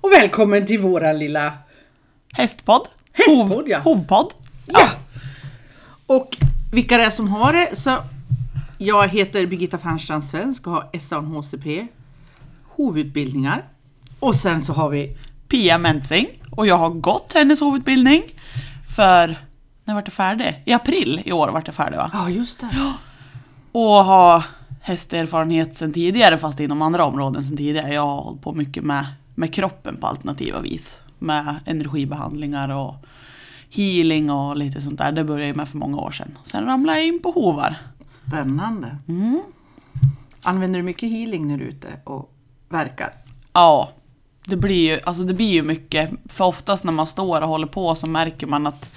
och välkommen till våran lilla... Hästpodd. Hästpodd, Hov- ja. Hovpodd. Ja! Och vilka det är som har det så... Jag heter Birgitta Fernstrand Svensk och har SANHCP, hovutbildningar. Och sen så har vi... Pia Mensing. Och jag har gått hennes hovutbildning. För, när vart det färdig? I april i år vart det färdig va? Ja, just det. Och har hästerfarenhet sen tidigare fast inom andra områden sen tidigare. Jag har hållit på mycket med, med kroppen på alternativa vis. Med energibehandlingar och healing och lite sånt där. Det började jag med för många år sedan. Sen ramlade jag in på hovar. Spännande. Använder du mycket healing när du är ute och verkar? Ja, det blir ju, alltså det blir ju mycket. För oftast när man står och håller på så märker man att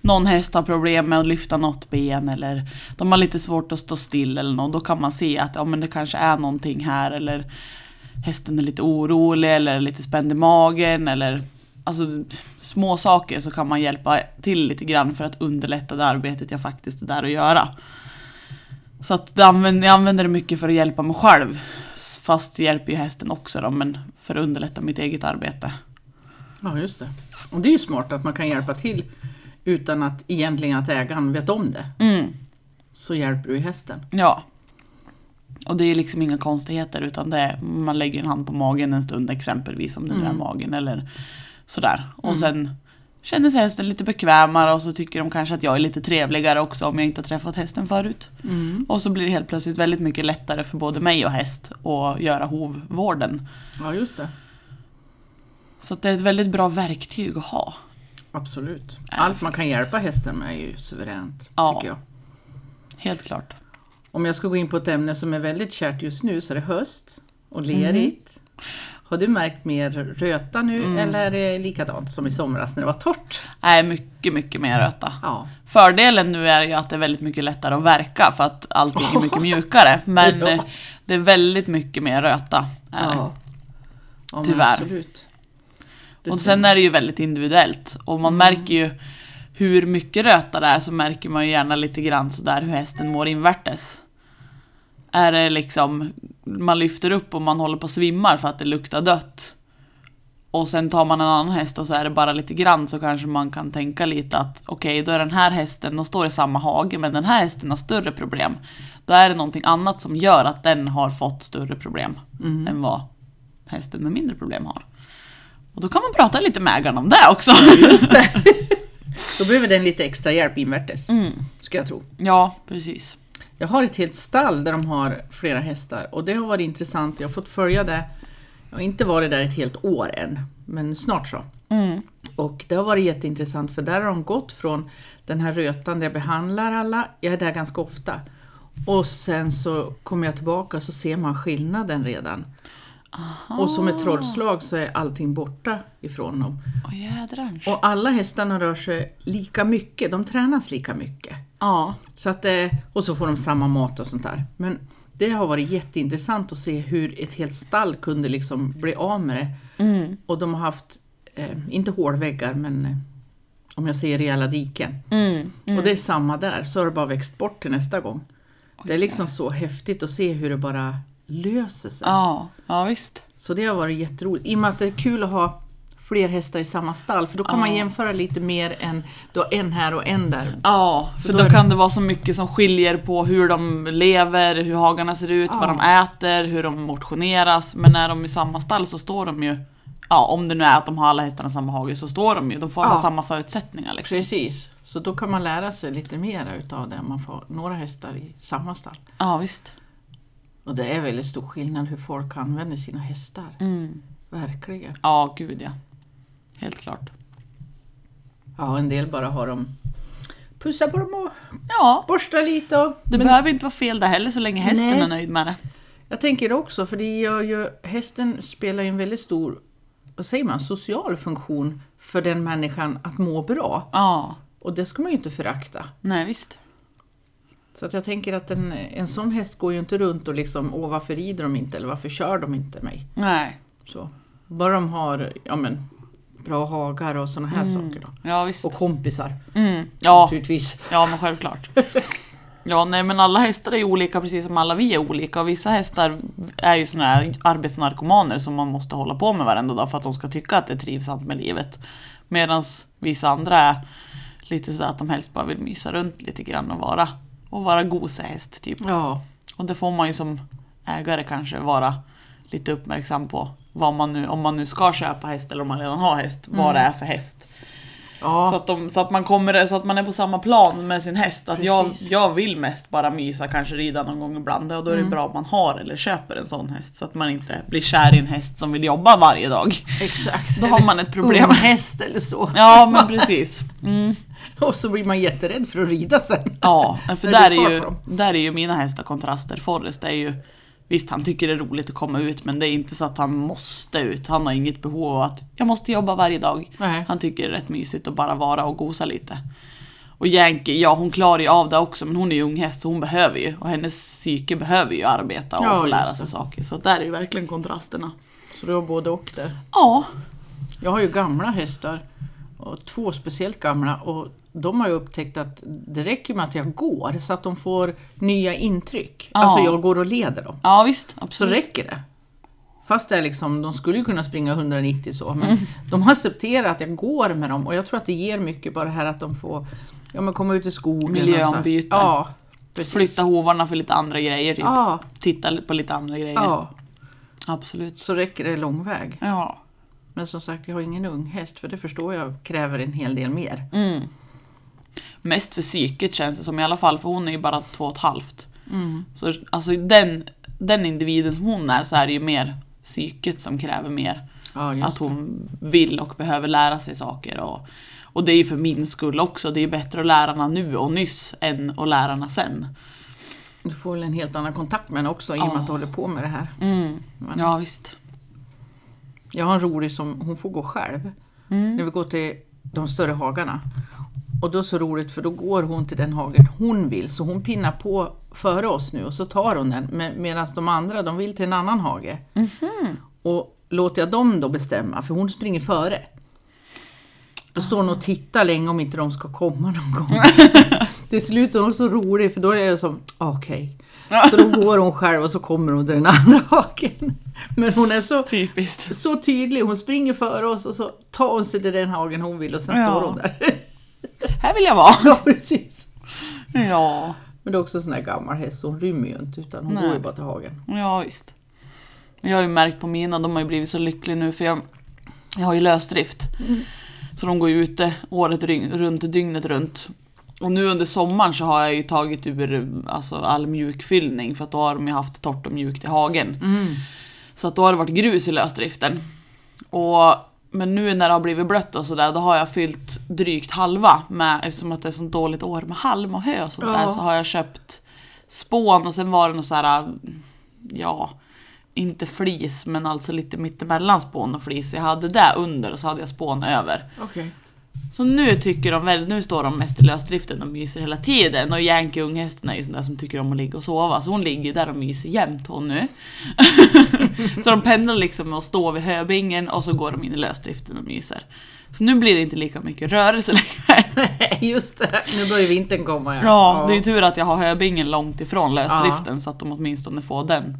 någon häst har problem med att lyfta något ben eller de har lite svårt att stå still eller något. Då kan man se att ja, men det kanske är någonting här eller hästen är lite orolig eller lite spänd i magen eller alltså små saker så kan man hjälpa till lite grann för att underlätta det arbetet jag faktiskt är där och göra. Så att det använder, jag använder det mycket för att hjälpa mig själv. S- Fast det hjälper ju hästen också då, men för att underlätta mitt eget arbete. Ja, just det. Och det är ju smart att man kan hjälpa till utan att egentligen att ägaren vet om det. Mm, Så hjälper du ju hästen. ja. Och det är liksom inga konstigheter utan det är, man lägger en hand på magen en stund exempelvis om det nu är magen eller sådär. Och sen känner sig hästen lite bekvämare och så tycker de kanske att jag är lite trevligare också om jag inte har träffat hästen förut. Mm. Och så blir det helt plötsligt väldigt mycket lättare för både mig och häst att göra hovvården. Ja, just det. Så att det är ett väldigt bra verktyg att ha. Absolut. Allt man kan hjälpa hästen med är ju suveränt, Äh, Ja. tycker jag. Helt klart. Om jag ska gå in på ett ämne som är väldigt kärt just nu så är det höst och Mm. lerigt. Har du märkt mer röta nu Mm. eller är det likadant som i somras när det var torrt? Nej, mycket, mycket mer röta. Ja, Fördelen nu är ju att det är väldigt mycket lättare att verka för att allting är mycket mjukare. Men Ja. eh, det är väldigt mycket mer röta. Eh, är det. ja. ja men Tyvärr. Absolut. Det Och ser- sen är det ju väldigt individuellt. Och man Mm. märker ju hur mycket röta det är så märker man ju gärna lite grann sådär hur hästen mår invärtes. Är det liksom, man lyfter upp och man håller på att svimmar för att det luktar dött. Och sen tar man en annan häst och så är det bara lite grann så kanske man kan tänka lite att okej, då är den här hästen, de står i samma hage, men den här hästen har större problem. Då är det någonting annat som gör att den har fått större problem Mm. än vad hästen med mindre problem har. Och då kan man prata lite med ägaren om det också. Just det. Då behöver den lite extra hjälp invärtes, Mm. ska jag tro. ja, precis. Jag har ett helt stall där de har flera hästar och det har varit intressant. Jag har fått följa det. Jag har inte varit där ett helt år än, men snart så. Och det har varit jätteintressant för där har de gått från den här rötan där jag behandlar alla, jag är där ganska ofta. Och sen så kommer jag tillbaka så ser man skillnaden redan. Och som ett trollslag så är allting borta ifrån dem. Åh jädrar. Och alla hästarna rör sig lika mycket, de tränas lika mycket. Ja, Så att, eh, och så får de samma mat och sånt där. Men det har varit jätteintressant att se hur ett helt stall kunde liksom bli av med det. Och de har haft, eh, inte hålväggar, men eh, om jag säger rejäla diken. Och det är samma där, så har det bara växt bort till nästa gång. Det är liksom så häftigt att se hur det bara löser sig. ja, ja visst. Så det har varit jätteroligt. I och med att det är kul att ha fler hästar i samma stall, för då kan man jämföra lite mer än du har en här och en där. Ja, för då är då det- kan det vara så mycket som skiljer på hur de lever, hur hagarna ser ut, vad de äter, hur de motioneras. Men när de är i samma stall så står de ju, ja om det nu är att de har alla hästarna i samma hage så står de ju, de får Ja. ha samma förutsättningar liksom. Precis, så då kan man lära sig lite mer utav det om man får några hästar i samma stall. Ja visst. Och det är väldigt stor skillnad hur folk använder sina hästar. Verkligen. Ja, gud ja. Helt klart. Ja, en del bara har dem pussa på dem och Ja, borsta lite. Och, det behöver inte vara fel där heller så länge hästen Nej. är nöjd med det. jag tänker det också, för det gör ju, hästen spelar ju en väldigt stor, vad säger man, social funktion för den människan att må bra. Ja, Och det ska man ju inte förakta. nej visst. Så att jag tänker att en, en sån häst går ju inte runt och liksom, åh varför rider de inte eller varför kör de inte mig? Nej. Så. Bara de har ja, men, bra hagar och sådana här saker. Då. Ja visst. Och kompisar Mm. Ja, naturligtvis. ja men självklart. Ja, nej men alla hästar är ju olika precis som alla vi är olika och vissa hästar är ju såna här arbetsnarkomaner som man måste hålla på med varenda dag för att de ska tycka att det är trivsamt med livet. Medan vissa andra är lite sådär att de helst bara vill mysa runt lite grann och vara, och vara gosehäst typ. Ja, Och det får man ju som ägare kanske vara lite uppmärksam på. Vad man nu, om man nu ska köpa häst eller om man redan har häst, vad det Mm. är för häst. Så, ja, att de, så, att man kommer, så att man är på samma plan med sin häst. Att jag, Precis. Mm. jag vill mest bara mysa, kanske rida någon gång ibland. Och då är det bra om man har eller köper en sån häst. Så att man inte blir kär i en häst som vill jobba varje dag. exakt. Då har man ett problem. Ung häst eller så. Ja men precis. Mm. Och så blir man jätterädd för att rida sen. Ja, för När där du är, far ju, på dem. där är ju mina hästar kontraster. Forrest är ju Visst, han tycker det är roligt att komma ut men det är inte så att han måste ut. Han har inget behov av att jag måste jobba varje dag. Nej. Han tycker det är rätt mysigt att bara vara och gosa lite. Och Yankee, ja hon klarar ju av det också men hon är ju ung häst så hon behöver ju. Och hennes psyke behöver ju arbeta och Ja, få lära just sig saker. Så där är ju verkligen kontrasterna. Så du har både och där. Ja, Jag har ju gamla hästar, och två speciellt gamla, och de har ju upptäckt att det räcker med att jag går så att de får nya intryck. Ja. Alltså jag går och leder dem. ja visst. Så Absolut. räcker det. Fast det är liksom, de skulle ju kunna springa 190 så, men Mm. de har accepterat att jag går med dem och jag tror att det ger mycket bara det här att de får ja, men komma ut i skogen. och så här. Miljöombyte. Ja, precis. Flytta hovarna för typ. lite andra grejer. Typ. Ja, Titta på lite andra grejer. ja, Absolut. så räcker det lång väg. Ja. Men som sagt, jag har ingen ung häst för det förstår jag kräver en hel del mer. Mm. Mest för psyket känns det som i alla fall, för hon är ju bara två och ett halvt. Så alltså den, den individen som hon är så är det ju mer psyket som kräver mer. Ja, just Att hon vill och behöver lära sig saker. Och, och det är ju för min skull också. Det är ju bättre att lära henne nu och nyss än att lära henne sen. Du får väl en helt annan kontakt med henne också i och med Ja. att du håller på med det här. Ja visst. Jag har en rolig som, hon får gå själv. När vi går till de större hagarna. Och då är det så roligt för då går hon till den hagen hon vill. Så hon pinnar på före oss nu och så tar hon den. Men, Medan de andra de vill till en annan hage. Och låter jag dem då bestämma, för hon springer före. Då står hon och tittar länge om inte de ska komma någon gång. Till slut så är hon så rolig för då är jag som, okej. Så då går hon själv och så kommer hon till den andra hagen. Men hon är så Typiskt. så tydlig. Hon springer före oss och så tar hon sig till den hagen hon vill och sen Ja. står hon där. Här vill jag vara. ja, precis. Ja, Men det är också en sån här gammal häst, så hon rymmer ju inte utan hon Nej. går ju bara till hagen. ja visst. Jag har ju märkt på mina, de har ju blivit så lyckliga nu för jag, jag har ju lösdrift. Så de går ju ute året ryn- runt, dygnet runt. Och nu under sommaren så har jag ju tagit ur alltså, all mjukfyllning för att då har de ju haft torrt och mjukt i hagen. Så att då har det varit grus i lösdriften. Och, men nu när det har blivit blött och sådär, då har jag fyllt drygt halva med, eftersom att det är så dåligt år med halm och hö och sånt där, Ja. så har jag köpt spån och sen var det något sådär, ja, inte flis men alltså lite mittemellan spån och flis. Jag hade det under och så hade jag spån över. Okej. Så nu tycker de väl, nu står de mest i lösdriften och myser hela tiden och Yankee och unghästen är ju sån där som tycker om att ligga och sova så hon ligger ju där och myser jämt hon nu. så de pendlar liksom och står vid höbingen och så går de in i lösdriften och myser. Så nu blir det inte lika mycket rörelse längre. Just det, nu börjar vintern komma. Ja, det är ju tur att jag har höbingen långt ifrån lösdriften så att de åtminstone får den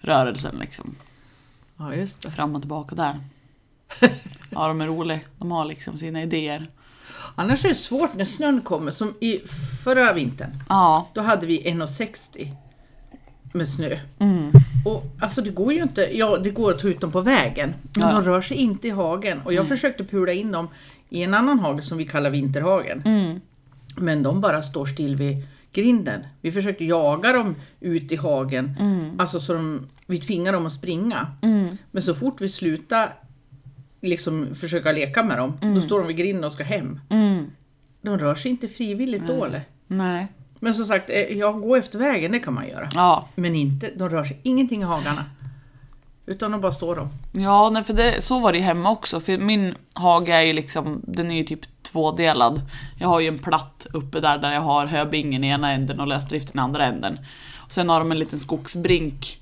rörelsen liksom. ja just det. Fram och tillbaka där. Ja, de är roliga. De har liksom sina idéer. Annars är det svårt när snön kommer, som i förra vintern. Ja, Då hade vi 1,60 med snö. Mm. Och alltså det går ju inte, ja det går att ta ut dem på vägen, men Ja. de rör sig inte i hagen. Och jag försökte pula in dem i en annan hage som vi kallar vinterhagen. Mm. Men de bara står still vid grinden. Vi försökte jaga dem ut i hagen, Mm. alltså så de, vi tvingar dem att springa. Men så fort vi slutar liksom försöka leka med dem, Mm. då står de vid grinden och ska hem. De rör sig inte frivilligt då eller? nej. Men som sagt, eh, jag går efter vägen, det kan man göra. Ja, Men inte, de rör sig ingenting i hagarna. Utan de bara står där. ja nej, för det, så var det ju hemma också. För min hage är ju liksom, den är ju typ tvådelad. Jag har ju en platt uppe där, där jag har höbingen i ena änden och lösdriften i andra änden. Och sen har de en liten skogsbrink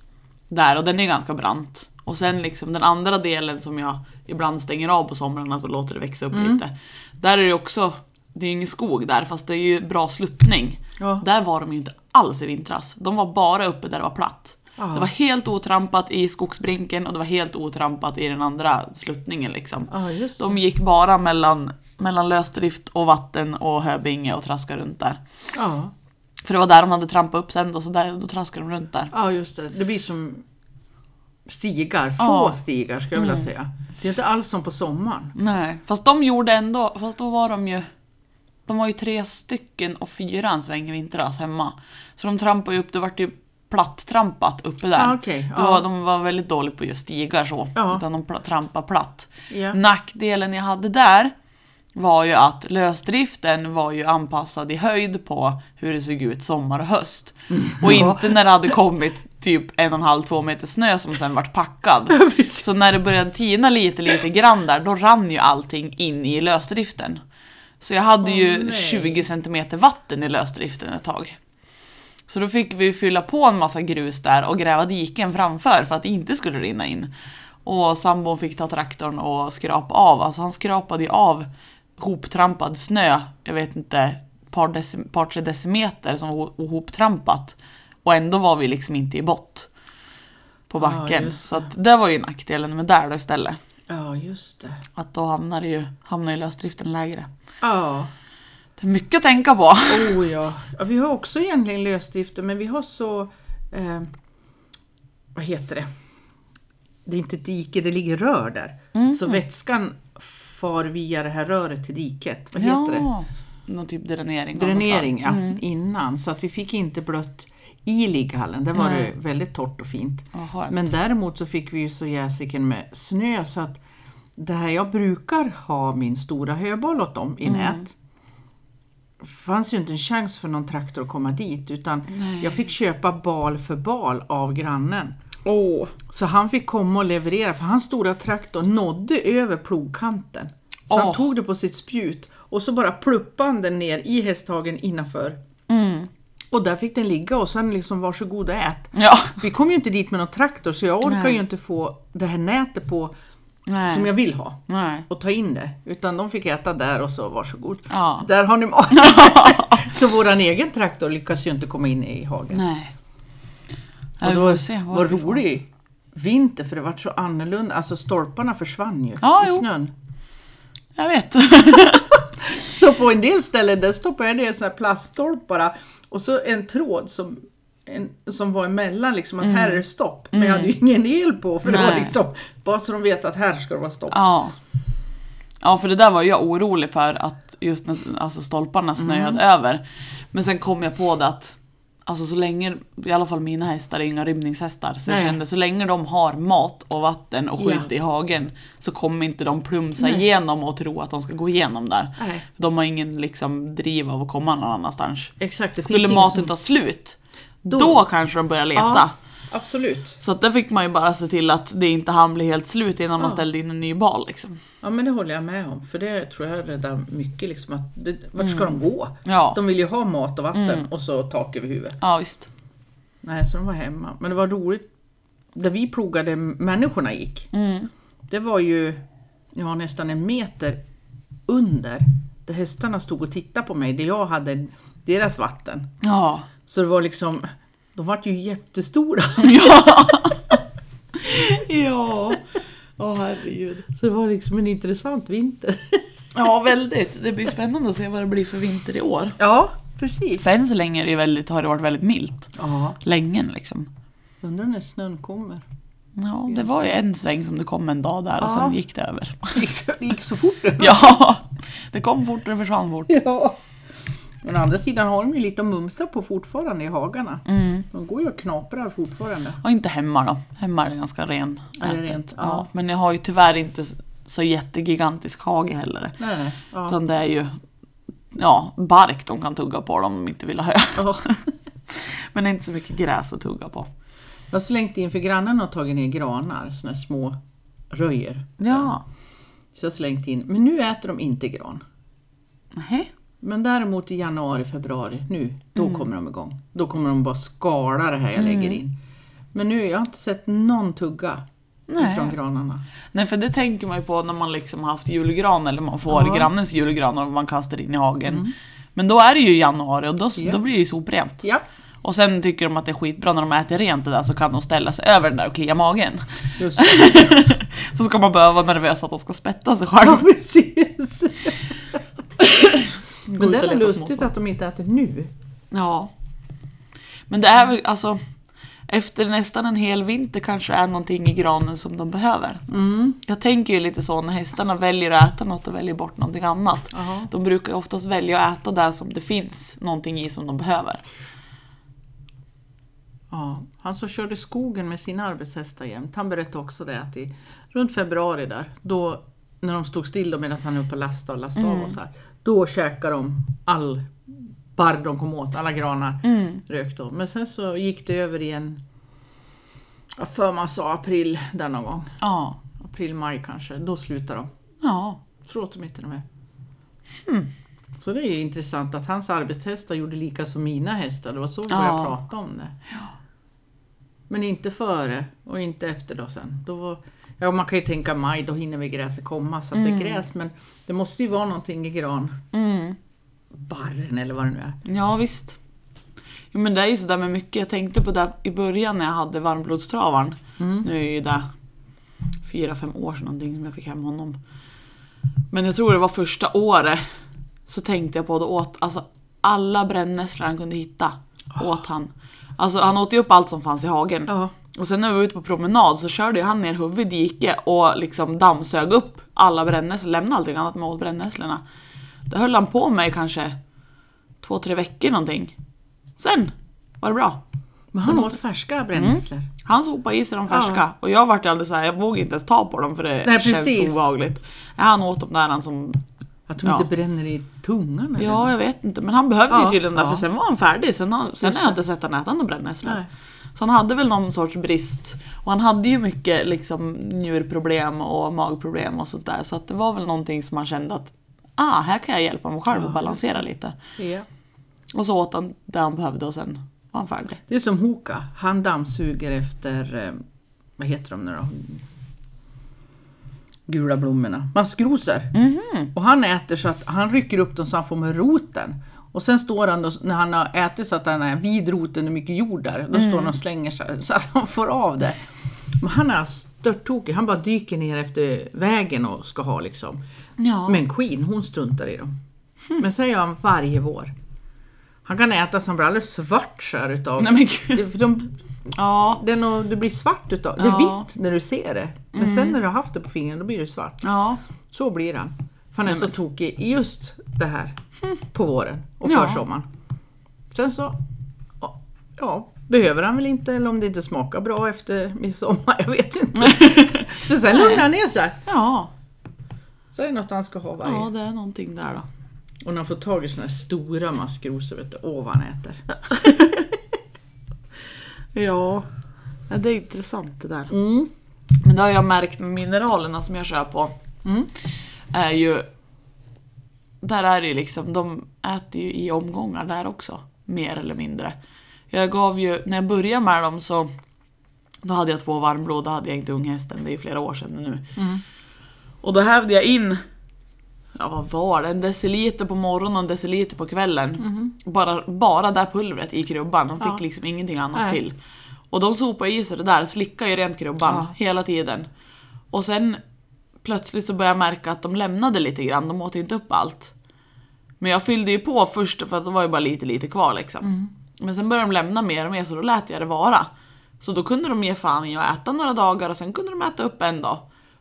där och den är ganska brant. Och sen liksom den andra delen som jag ibland stänger av på alltså somrarna så Mm. låter det växa upp lite. Där är det ju också, det är ju ingen skog där fast det är ju bra sluttning. Ja. Där var de ju inte alls i vintras. De var bara uppe där det var platt. Ja. Det var helt otrampat i skogsbrinken och det var helt otrampat i den andra sluttningen liksom. Ja, just det. De gick bara mellan, mellan lösdrift och vatten och höbinge och traskade runt där. Ja. För det var där de hade trampat upp sen då, så där, då traskade de runt där. ja, just det. Det blir som stigar, få Ja. stigar ska jag vilja säga. Det är inte alls som på sommaren. Nej, fast de gjorde ändå, fast då var de ju De var ju tre stycken och fyra en sväng i vintras hemma. Så de trampade ju upp, det vart ju platt-trampat uppe där. Ah, okej, då, ja. De var väldigt dåliga på just stigar så, Ja. utan de pla- trampade platt. Ja. Nackdelen jag hade där var ju att lösdriften var ju anpassad i höjd på hur det såg ut sommar och höst. Och Mm. Ja. inte när det hade kommit typ en och en halv, två meter snö som sen vart packad. Precis. Så när det började tina lite, lite grann där, då rann ju allting in i lösdriften. Så jag hade Åh, ju nej. 20 cm vatten i lösdriften ett tag. Så då fick vi ju fylla på en massa grus där och gräva diken framför för att det inte skulle rinna in. Och sambon fick ta traktorn och skrapa av, alltså han skrapade ju av hoptrampad snö, jag vet inte, ett par, deci- par tre decimeter som var ho- hoptrampat. Och ändå var vi liksom inte i bott på Ja, backen. just så att det var ju nackdelen med där då istället. Ja, just det. Att då hamnar det ju, hamnar ju lösdriften lägre. Ja. Det är mycket att tänka på. Oh ja. ja, vi har också egentligen lösdrifter men vi har så, eh, vad heter det? Det är inte ett dike, det ligger rör där. Så vätskan far via det här röret till diket. Vad heter det? det? Någon typ dränering. av något Dränering, slag. ja, innan. Så att vi fick inte blött i ligghallen, där var det väldigt torrt och fint. Vad skönt. Men däremot så fick vi ju så jäsiken med snö så att där jag brukar ha min stora höboll åt dem i nät fanns ju inte en chans för någon traktor att komma dit utan jag fick köpa bal för bal av grannen. Åh. Så han fick komma och leverera för hans stora traktor nådde över plogkanten. Så han Åh. tog det på sitt spjut och så bara pluppade han den ner i hästhagen innanför. Mm. Och där fick den ligga och sen liksom varsågod och ät. Ja. Vi kom ju inte dit med någon traktor så jag orkar Nej. ju inte få det här nätet på Nej. som jag vill ha Nej. och ta in det. Utan de fick äta där och så varsågod. Ja. Där har ni mat! så våran egen traktor lyckas ju inte komma in i hagen. Nej. Ja, Och vi det får var, se vad var vi får. rolig vinter för det var så annorlunda. Alltså stolparna försvann ju Ja, i jo. snön. Jag vet. Så på en del ställen där stoppade jag ner såna här plaststolpar och så en tråd som, en, som var emellan, liksom att här är det stopp. Men jag hade ju ingen el på för det var Mm. Nej. liksom bara så de vet att här ska det vara stopp. Ja. Ja, för det där var jag orolig för att just när alltså, Mm. stolparna snöade över. Men sen kom jag på det att alltså, så länge, i alla fall mina hästar är inga rymningshästar, så jag Nej. kände så länge de har mat och vatten och skydd Ja. i hagen så kommer inte de plumsa Nej. igenom och tro att de ska gå igenom där. Nej. De har ingen liksom, driv av att komma någon annanstans. Exakt, det Skulle finns maten ingen som- ta slut, då. Då. kanske de börjar leta. Ja, absolut. Så att där fick man ju bara se till att det inte hann bli helt slut innan man Ja. ställde in en ny bal. Liksom. Ja men det håller jag med om, för det tror jag räddar mycket. Liksom, att det, vart ska de gå? Mm. Ja. Mm. De vill ju ha mat och vatten och så tak över huvudet. Ja visst. Nej, så de var hemma. Men det var roligt, där vi plogade människorna gick, Mm. det var ju ja, nästan en meter under där hästarna stod och tittade på mig, där jag hade deras vatten. Ja. Så det var liksom, de vart ju jättestora. ja. ja. Åh herregud. Så det var liksom en intressant vinter. Ja väldigt. Det blir spännande att se vad det blir för vinter i år. Ja, precis. För än så länge är det väldigt, har det varit väldigt milt. Ja, Länge liksom. undrar när snön kommer. Ja, det var ju en sväng som det kom en dag där och Ja. sen gick det över. Det gick så- det gick så fort. Ja, det kom fort och det försvann fort. Ja. Men å andra sidan har de ju lite att mumsa på fortfarande i hagarna. De går ju och knaprar fortfarande. Och inte hemma då. Hemma är det ganska ren Ja, det är ätet. rent, ja. ja. Men jag har ju tyvärr inte så jättegigantisk hage heller. Nej, nej. Ja. Utan det är ju ja, bark de kan tugga på om de inte vill ha hö. Ja. Men det är inte så mycket gräs att tugga på. Jag har slängt in, för grannarna har tagit ner granar, såna här små röjer. Ja. Så jag har slängt in, men nu äter de inte gran. Nej. Men däremot i januari, februari, nu, då kommer de igång. Då kommer de bara skala det här jag lägger in. Men nu, jag har inte sett någon tugga Nej. från granarna. Nej, för det tänker man ju på när man liksom har haft julgran eller man får Ja. Mm. grannens julgran och man kastar in i hagen. Men då är det ju januari och då, Ja. då blir det ju soprent. Ja, Och sen tycker de att det är skitbra när de äter rent det där så kan de ställa sig över den där och klia magen. just det. Så ska man behöva vara nervös att de ska spätta sig Ja, själv. precis. Gå Men ut det är och väl leta lustigt småsån. att de inte äter nu. Ja. Men det är väl alltså efter nästan en hel vinter kanske det är någonting i granen som de behöver. Jag tänker ju lite så när hästarna väljer att äta något och väljer bort någonting annat. Jaha. De brukar ju oftast välja att äta där som det finns någonting i som de behöver. Ja, han som körde skogen med sina arbetshästar jämt, han berättade också det att i, runt februari där, då när de stod still då medan han höll på att lasta och lasta av och så här, då käkade de all barr de kom åt, alla granar rök då. Men sen så gick det över i en, jag för man sa april där någon gång, Ja. april, maj kanske, då slutade de. Ja. Så åt de inte de här. Hmm. Så det är ju intressant att hans arbetshästar gjorde lika som mina hästar. Det var så vi började Ja. prata om det. Men inte före och inte efter då sen. Då var, ja, man kan ju tänka maj, då hinner vi gräset komma så att det är gräs. Men det måste ju vara någonting i granbarren Mm. eller vad det nu är. Ja visst. Jo, men det är ju sådär med mycket. Jag tänkte på det i början när jag hade varmblodstravaren. Nu är ju det fyra, fem år sedan någonting som jag fick hem honom. Men jag tror det var första året så tänkte jag på det åt alltså, alla brännässlor han kunde hitta. Åt han. Alltså han åt ju upp allt som fanns i hagen. Ja. Och sen när vi var ute på promenad så körde ju han ner huvudet i diket och liksom dammsög upp alla brännässlor, lämnade allting annat med åt brännässlorna. Det höll han på med i kanske två, tre veckor någonting. Sen var det bra. Men han åt färska brännässlor. Han sopade i sig de färska och jag vart alldeles såhär, jag vågade inte ens ta på dem för det Nej, känns precis. obehagligt. Nej, Han åt dem där han som, Att de Ja. inte bränner i tungan eller? ja jag vet inte, men han behövde ju Mm. Ja, tydligen det ja. för sen var han färdig. Sen, har- sen Just har jag det. inte sett han äta några brännässlor. Nej. Så han hade väl någon sorts brist. Och han hade ju mycket liksom, njurproblem och magproblem och sånt där. Så att det var väl någonting som han kände att ah, här kan jag hjälpa mig själv att balansera lite. Ja. Och så åt han det han behövde och sen var han färdig. Det är som Hoka, han dammsuger efter, eh, vad heter de nu då? Gula blommorna, maskrosor. Och han äter så att han rycker upp dem så han får med roten. Och sen står han då, när han har ätit så att han är vid roten och mycket jord där, då står han och slänger sig så att han får av det. Men han är störttokig, han bara dyker ner efter vägen och ska ha liksom. Ja. Men Queen, hon struntar i dem. Men så gör han varje vår. Han kan äta så han blir alldeles svart så här utav Nej men gud. det, för de, Ja. det, är nog, det blir svart utav Det Ja. Mm. är vitt när du ser det. Men sen när du har haft det på fingrarna då blir det svart. Ja. Så blir han. För han är så tokig i just det här på våren och Ja. försommaren. Sen så ja, ja, behöver han väl inte eller om det inte smakar bra efter midsommar. Jag vet inte. för sen lugnar han ner sig. Ja. Så är det något han ska ha varje. Ja, det är någonting där då. Och när han får tag i såna här stora maskrosor vet du. Åh vad han äter. Ja. ja det är intressant det där. Mm. Men det har jag märkt med mineralerna som jag kör på. Mm. Är ju... Där är det ju liksom, de äter ju i omgångar där också. Mer eller mindre. Jag gav ju, när jag började med dem så Då hade jag två varmblod, då hade jag inte unghästen, det är ju flera år sedan nu. Och då hävde jag in Ja vad var det? En deciliter på morgonen och en deciliter på kvällen. Bara, bara det pulvret i krubban, de fick Ja. liksom ingenting annat Nej. till. Och de sopade i sig det där, slickade ju rent krubban Ja. hela tiden. Och sen plötsligt så började jag märka att de lämnade lite grann, de åt inte upp allt. Men jag fyllde ju på först för att det var ju bara lite lite kvar liksom. Mm. Men sen började de lämna mer och mer så då lät jag det vara. Så då kunde de ge fan i att äta några dagar och sen kunde de äta upp en dag.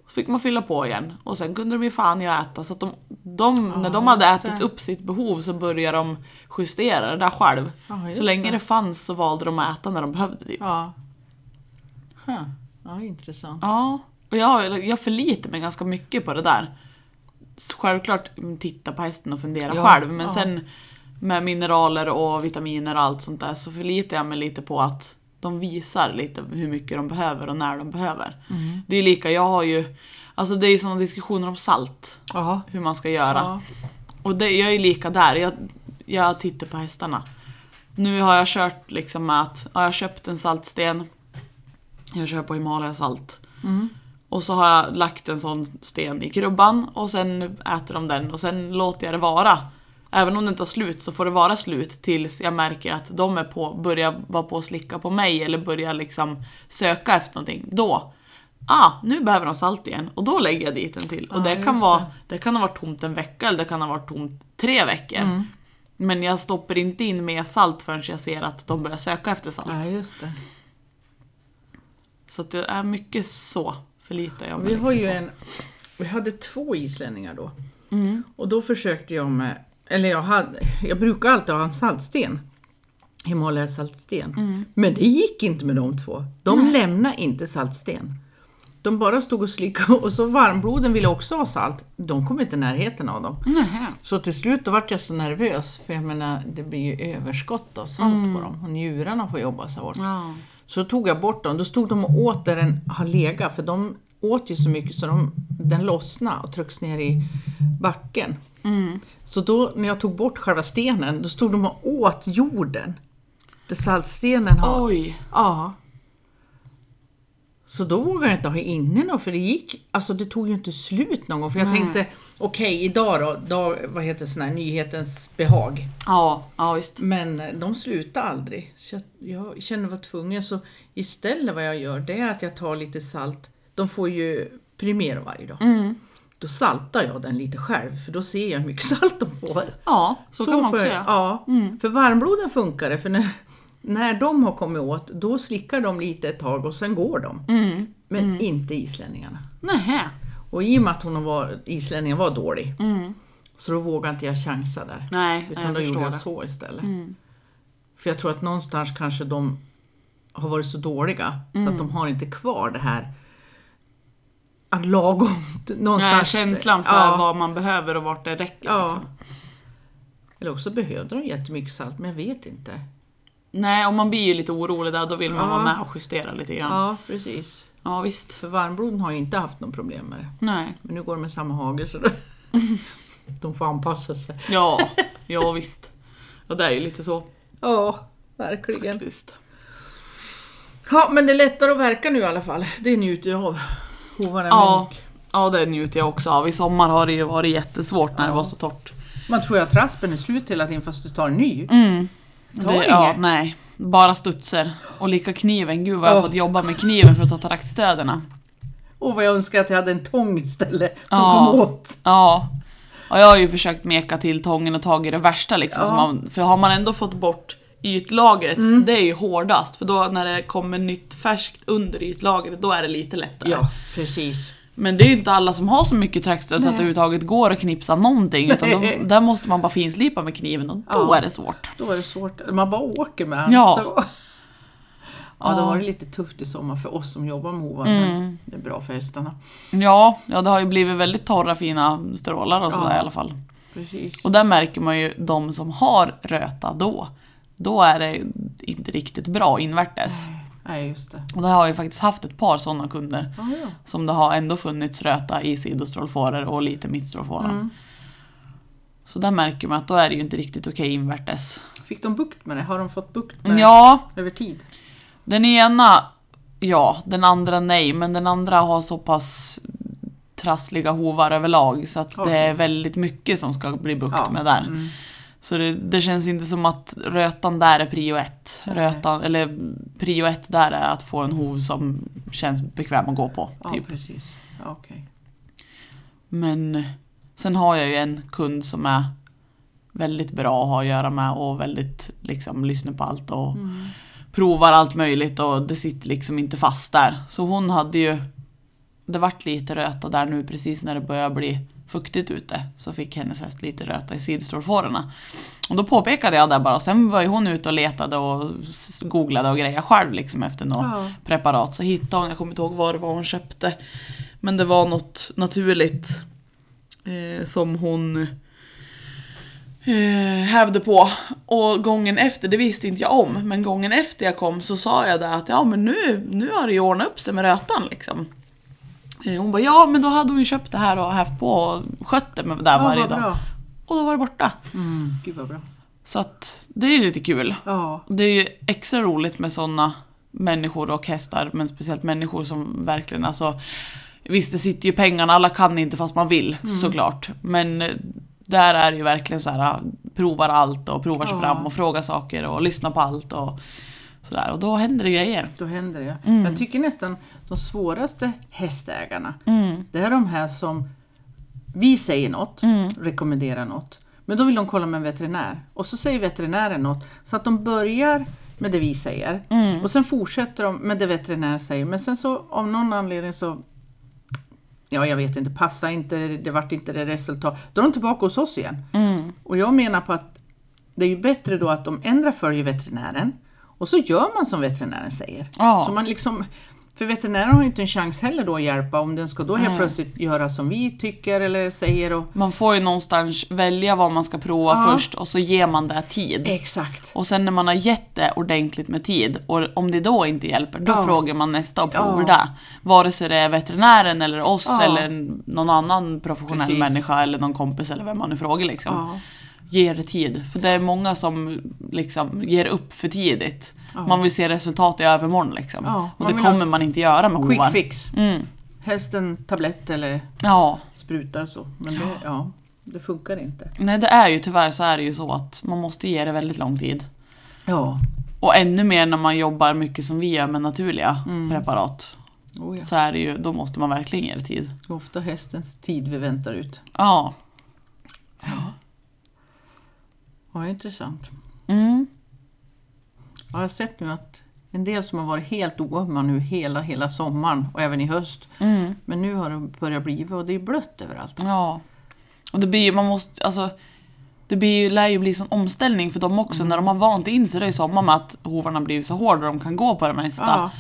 Så fick man fylla på igen och sen kunde de ge fan i att äta så att de, de när de hade just det. ätit upp sitt behov så började de justera det där själv. Ja, just så länge det. det fanns så valde de att äta när de behövde typ. Ja. Huh. Ja, intressant. Ja, och jag, jag förlitar mig ganska mycket på det där. Självklart mm, titta på hästen och fundera Ja, själv, men ja. sen med mineraler och vitaminer och allt sånt där så förlitar jag mig lite på att de visar lite hur mycket de behöver och när de behöver. Mm. Det är lika, jag har ju, alltså det är ju sådana diskussioner om salt, Ja. hur man ska göra. Ja. Och det, jag är lika där, jag, jag tittar på hästarna. Nu har jag kört liksom med att, ja, jag har köpt en saltsten, jag kör på Himalaya salt. Och så har jag lagt en sån sten i krubban och sen äter de den och sen låter jag det vara. Även om det inte tar slut så får det vara slut tills jag märker att de är på, börjar vara på och slicka på mig eller börjar liksom söka efter någonting. Då, ah, nu behöver de salt igen och då lägger jag dit en till. Och Ja, det, kan just vara, det. det kan ha varit tomt en vecka eller det kan ha varit tomt tre veckor. Mm. Men jag stoppar inte in mer salt förrän jag ser att de börjar söka efter salt. Ja, just det. Så att det är mycket så förlitar jag mig Vi har liksom ju på. en... Vi hade två islänningar då. Och då försökte jag med... Eller jag, hade, jag brukar alltid ha en saltsten. Himalayas saltsten. Men det gick inte med de två. De lämnade inte saltsten. De bara stod och slickade och så varmbloden ville också ha salt. De kom inte i närheten av dem. Nähä. Så till slut då vart jag så nervös för jag menar det blir ju överskott av salt på dem och njurarna får jobba så hårt. Ja. Så tog jag bort dem, då stod de och åt där den har legat för de åt ju så mycket så de, den lossnade och trycks ner i backen. Så då när jag tog bort själva stenen, då stod de och åt jorden. Där saltstenen har... Oj. Ja. Så då vågade jag inte ha inne något för det gick, alltså det tog ju inte slut någon gång. För jag Nej. tänkte, okej idag då, dag, vad heter sån här, nyhetens behag. Ja, ja visst. Men de slutar aldrig. Så jag, jag känner mig tvungen. Så istället vad jag gör det är att jag tar lite salt. De får ju Primero varje dag. Då saltar jag den lite själv för då ser jag hur mycket salt de får. Ja, så, kan man får också jag- göra. Mm. Ja, för varmbloden funkar det. För när, när de har kommit åt då slickar de lite ett tag och sen går de. Mm. Men inte islänningarna. Nähä. Och i och med att hon var, islänningen var dålig så då vågade inte jag chansa där. Mm. Nej, nej, Utan då jag gjorde jag förstår det. Mm. så istället. För jag tror att någonstans kanske de har varit så dåliga Mm. så att de har inte kvar det här att lagom. Någonstans. Nej, känslan för ja, vad man behöver och vart det räcker. ja. Liksom. Eller också behövde de jättemycket salt, men jag vet inte. Nej, och man blir ju lite orolig där, då vill man Ja. vara med och justera lite grann. Ja, Ja, precis. visst. För varmbloden har ju inte haft något problem med det. Nej. Men nu går de med samma hagel så då- de får anpassa sig. Ja, ja visst. Ja, det är ju lite så Ja, verkligen. faktiskt. Ja, men det är lättare att verka nu i alla fall. Det njuter jag av. Hovarna Ja. mink. Ja, det njuter jag också av. I sommar har det ju varit jättesvårt när det Ja. var så torrt. Man tror ju att raspen är slut hela tiden fast du tar en ny. Mm. Tar Det, ja, inget. nej. Bara studser. Och lika kniven. Gud vad jag har Åh. fått jobba med kniven för att ta traktstöderna. Och vad jag önskar att jag hade en tång istället som Ja. kom åt. Ja. Och jag har ju försökt meka till tången och tagit det värsta liksom. Ja. Mm. som Man, för har man ändå fått bort ytlagret, det är ju hårdast. För då när det kommer nytt färskt under ytlagret, då är det lite lättare. Ja, precis. Men det är ju inte alla som har så mycket traktstöd så att det överhuvudtaget går att knipsa någonting. Utan Nej. då, där måste man bara finslipa med kniven och då Ja. är det svårt. Då är det svårt. Man bara åker med den. Ja. Så. Ja, då Ja. Mm. var det lite tufft i sommar för oss som jobbar med hovarna. men Det är bra för hästarna. Ja, ja, det har ju blivit väldigt torra fina strålar och sådär Ja. i alla fall. Precis. Och där märker man ju de som har röta då. Då är det inte riktigt bra invärtes. Nej, just det. Och där har jag ju faktiskt haft ett par sådana kunder. Ja, ja. Som det har ändå funnits röta i sidostrålfåror och lite mittstrålfåra. Så där märker man att då är det ju inte riktigt okej invärtes. Fick de bukt med det? Har de fått bukt med Ja, det över tid? Den ena, ja. Den andra nej. Men den andra har så pass trassliga hovar överlag så att det Okej. är väldigt mycket som ska bli bukt Ja, med där. mm. Så det, det känns inte som att rötan där är prio ett. Nej. Rötan, eller prio ett där är att få en hov som känns bekväm att gå på. Ja, Typ. precis. Ja, Okej. Men sen har jag ju en kund som är väldigt bra att ha att göra med och väldigt liksom lyssnar på allt och Mm. provar allt möjligt och det sitter liksom inte fast där. Så hon hade ju, det vart lite röta där nu precis när det började bli fuktigt ute så fick hennes häst lite röta i sidostrålfårorna. Och då påpekade jag det bara och sen var ju hon ute och letade och s- googlade och grejade själv liksom efter något Ja. preparat. Så hittade hon, jag kommer inte ihåg vad det var hon köpte. Men det var något naturligt eh, som hon eh, hävde på. Och gången efter, det visste inte jag om, men gången efter jag kom så sa jag det att ja men nu, nu har det ju ordnat upp sig med rötan liksom. Eh, Hon bara ja men då hade hon ju köpt det här och haft på och skött det med det där Ja, varje vad dag. bra. Och då var det borta. Mm. Gud vad bra. Så att det är ju lite kul. Ja, Det är ju extra roligt med sådana människor och hästar, men speciellt människor som verkligen alltså Visst, det sitter Mm. ju pengarna, alla kan inte fast man vill såklart. Men eh, där är det ju verkligen så här provar allt och provar sig Ja. fram och frågar saker och lyssnar på allt och sådär. Och då händer det grejer. Då händer det. Jag tycker nästan de svåraste hästägarna, det är de här som vi säger något, rekommenderar något, men då vill de kolla med en veterinär. Och så säger veterinären något, så att de börjar med det vi säger och sen fortsätter de med det veterinär säger. Men sen så av någon anledning så, ja jag vet inte, passar inte, det vart inte det resultat. Då är de tillbaka hos oss igen. Och jag menar på att det är ju bättre då att de ändrar följer veterinären och så gör man som veterinären säger. Ja. Så man liksom, för veterinären har ju inte en chans heller då att hjälpa om den ska då helt Nej. plötsligt göra som vi tycker eller säger. Och, Man får ju någonstans välja vad man ska prova Ja. först och så ger man det tid. Exakt. Och sen när man har gett det ordentligt med tid och om det då inte hjälper, då Ja. frågar man nästa och provar Ja. det. Vare sig det är veterinären eller oss Ja. eller någon annan professionell Precis. människa eller någon kompis eller vem man nu frågar liksom. Ja. Ge det tid. För det är många som liksom ger upp för tidigt. Ja. Man vill se resultat i övermorgon liksom. Ja, och man det vill ha- kommer man inte göra med hovar. Quick fix. Mm. Hästen tablett eller Ja. sprutar så. Men det, ja, det funkar inte. Nej det är ju tyvärr så är det ju så att man måste ge det väldigt lång tid. Ja. Och ännu mer när man jobbar mycket som vi gör med naturliga Mm. preparat. Oh ja. så är det ju, då måste man verkligen ge det tid. Ofta hästens tid vi väntar ut. Ja. Ja, intressant. Mm. Ja, jag har sett nu att en del som har varit helt oömma nu hela, hela sommaren och även i höst. Mm. Men nu har det börjat bli och det är blött överallt. Ja. Och det blir ju, man måste, alltså det blir, ju- lär ju bli sån omställning för dem Mm. också när de har vant in sig det i sommar med att hovarna blivit så hårda och de kan gå på det mesta. Ja,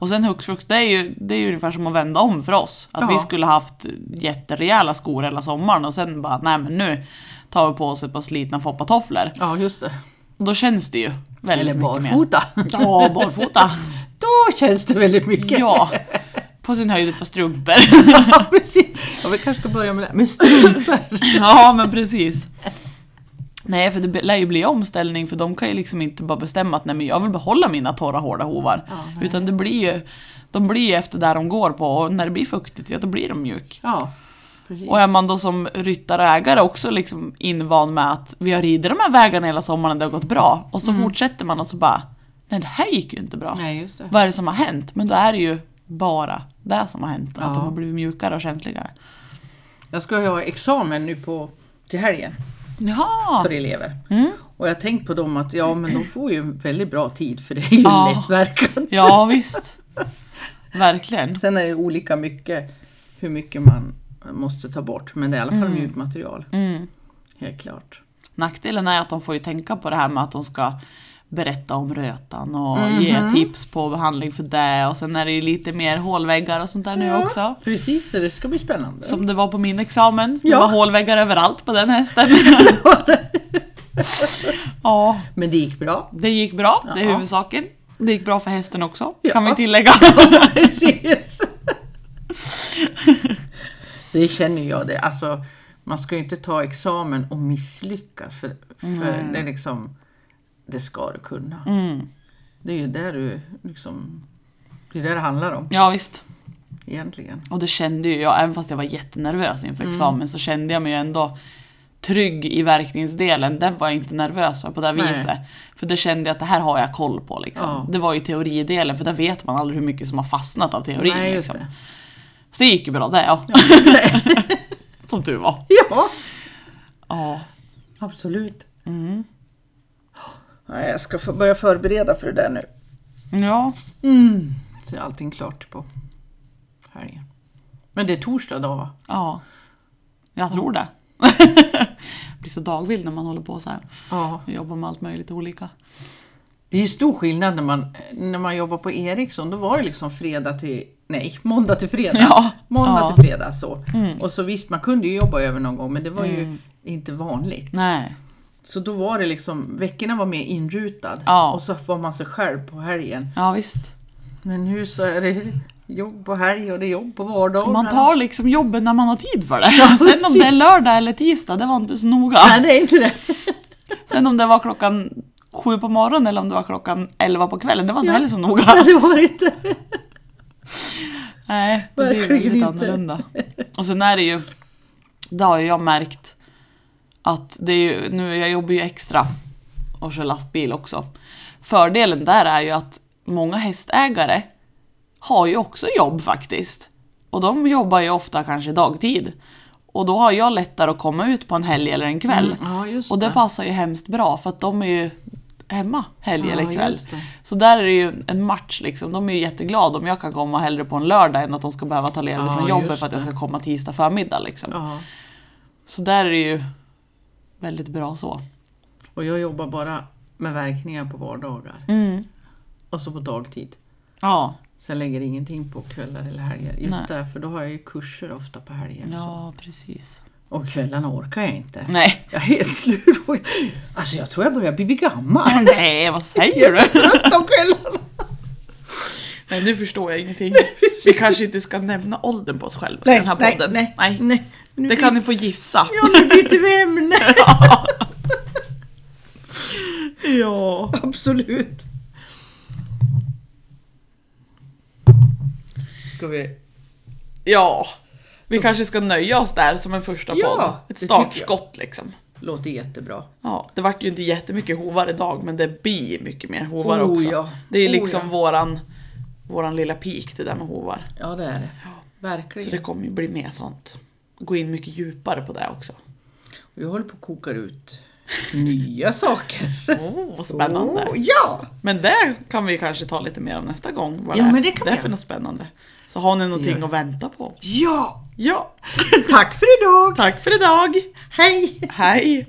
Och sen hux flux, det är, ju, det är ju ungefär som att vända om för oss. Att Ja. vi skulle haft jätterejäla skor hela sommaren och sen bara, nej men nu tar vi på oss ett par slitna foppatofflor. ja just det. Och då känns det ju väldigt Eller mycket mer. barfota. Ja, barfota. Då känns det väldigt mycket. Ja. På sin höjd ett par strumpor. Ja, precis. Ja, vi kanske ska börja med det. här. Men strumpor. Ja men precis. Nej för det lär ju bli omställning för de kan ju liksom inte bara bestämma att nej men jag vill behålla mina torra hårda hovar. Ja, nej. Utan det blir ju, de blir ju efter där de går på och när det blir fuktigt, ja då blir de mjuk. Ja, precis. Och är man då som ryttare och ägare också liksom invand med att vi har ridit de här vägarna hela sommaren, det har gått bra. Och så fortsätter man och så bara, nej det här gick ju inte bra. Mm. Nej, just det. Vad är det som har hänt? Men då är det ju bara det som har hänt, Ja. att de har blivit mjukare och känsligare. Jag ska ju ha examen nu på, till helgen Jaha! för elever. Mm. Och jag har tänkt på dem att ja, men de får ju väldigt bra tid för det är ju Ja. lättverkande. Ja visst. Verkligen. Sen är det olika mycket hur mycket man måste ta bort, men det är i alla fall mjukt material. Helt klart. Nackdelen är att de får ju tänka på det här med att de ska berätta om rötan och Mhm. ge tips på behandling för det och sen är det ju lite mer hålväggar och sånt där nu också. Precis, så det ska bli spännande. Som det var på min examen, det Ja. var hålväggar överallt på den hästen. ja, Men det gick bra. det gick bra, det är Ja. huvudsaken. Det gick bra för hästen också, Ja. kan vi tillägga. Precis. det känner jag det. Alltså, man ska ju inte ta examen och misslyckas. För, för det är liksom, det ska du kunna. Det är ju där du liksom, det är där det handlar om Ja visst. egentligen. Och det kände ju jag, även fast jag var jättenervös inför Mm. examen så kände jag mig ju ändå trygg i verkningsdelen. Den var jag inte nervös för på det Nej. viset. För det kände jag att det här har jag koll på. Liksom. Ja. Det var ju teoridelen för där vet man aldrig hur mycket som har fastnat av teorin. Nej, just liksom. det. Så det gick ju bra det ja. som tur var. Ja, Ja. absolut. Mm. Ja, jag ska få börja förbereda för det där nu. ja. Mm. Så är allting klart på helgen. Men det är torsdag dag va? Ja. Jag tror det. blir så dagvild när man håller på så här. Ja. Och jobbar med allt möjligt olika. Det är ju stor skillnad när man, när man jobbar på Ericsson. Då var det liksom fredag till, nej, måndag till fredag. Ja. Måndag Ja. till fredag så. Och så visst, man kunde ju jobba över någon gång men det var ju inte vanligt. Nej. Så då var det liksom, veckorna var mer inrutad. Ja. Och så var man sig själv på helgen. Ja visst. Men nu så är det jobb på helg och det är jobb på vardagar. Man tar liksom jobben när man har tid för det. Sen om precis. det är lördag eller tisdag, det var inte så noga. Nej, det är inte det. Sen om det var klockan sju på morgonen eller om det var klockan elva på kvällen, det var inte heller så noga. Nej, det var det inte. Nej, det blir Verkligen väldigt inte. annorlunda. Och sen är det ju, det har ju jag märkt, Att det är ju, nu, jag jobbar ju extra och kör lastbil också. Fördelen där är ju att många hästägare har ju också jobb faktiskt. Och de jobbar ju ofta kanske dagtid. Och då har jag lättare att komma ut på en helg eller en kväll. Mm. Ja, just Och det det. passar ju hemskt bra för att de är ju hemma helg Ja, eller kväll. just det. Så där är det ju en match liksom. De är ju jätteglada om jag kan komma hellre på en lördag än att de ska behöva ta ledigt Ja, från jobbet just för att jag det. ska komma tisdag förmiddag liksom. Ja. Så där är det ju väldigt bra så. Och jag jobbar bara med verkningar på vardagar. Mm. Och så på dagtid. Ja, Så jag lägger ingenting på kvällar eller helger. Nej. Just därför, då har jag ju kurser ofta på helger. och så. ja precis. Och kvällarna orkar jag inte. Nej. Jag är helt slut. på- Alltså jag tror jag börjar bli gammal. Nej, vad säger Jag är du? så trött om kvällarna. Nej, nu förstår jag ingenting. Vi kanske inte ska nämna åldern på oss själva i den här podden. nej, nej. nej. Nu Det kan ni få gissa. Ja, nu byter vi ämne. Ja. Absolut. Ska vi... Ja. Vi kanske ska nöja oss där som en första Ja, podd. det Ett tycker jag. startskott liksom. Låter jättebra. Ja, det vart ju inte jättemycket hovar idag men det blir mycket mer hovar Oh, också. ja. Det är ju Oh, liksom ja. våran, våran lilla peak det där med hovar. Ja, det är det. Så det Verkligen. kommer ju bli mer sånt. Gå in mycket djupare på det också. Vi håller på att koka ut nya saker. Oh, vad spännande. Oh, ja! Men det kan vi kanske ta lite mer om nästa gång. Vad Ja, är- men det kan det är vi för göra. något spännande. Så har ni någonting gör att vänta på. Ja! Ja, Tack för idag! tack för idag. Hej! Hej.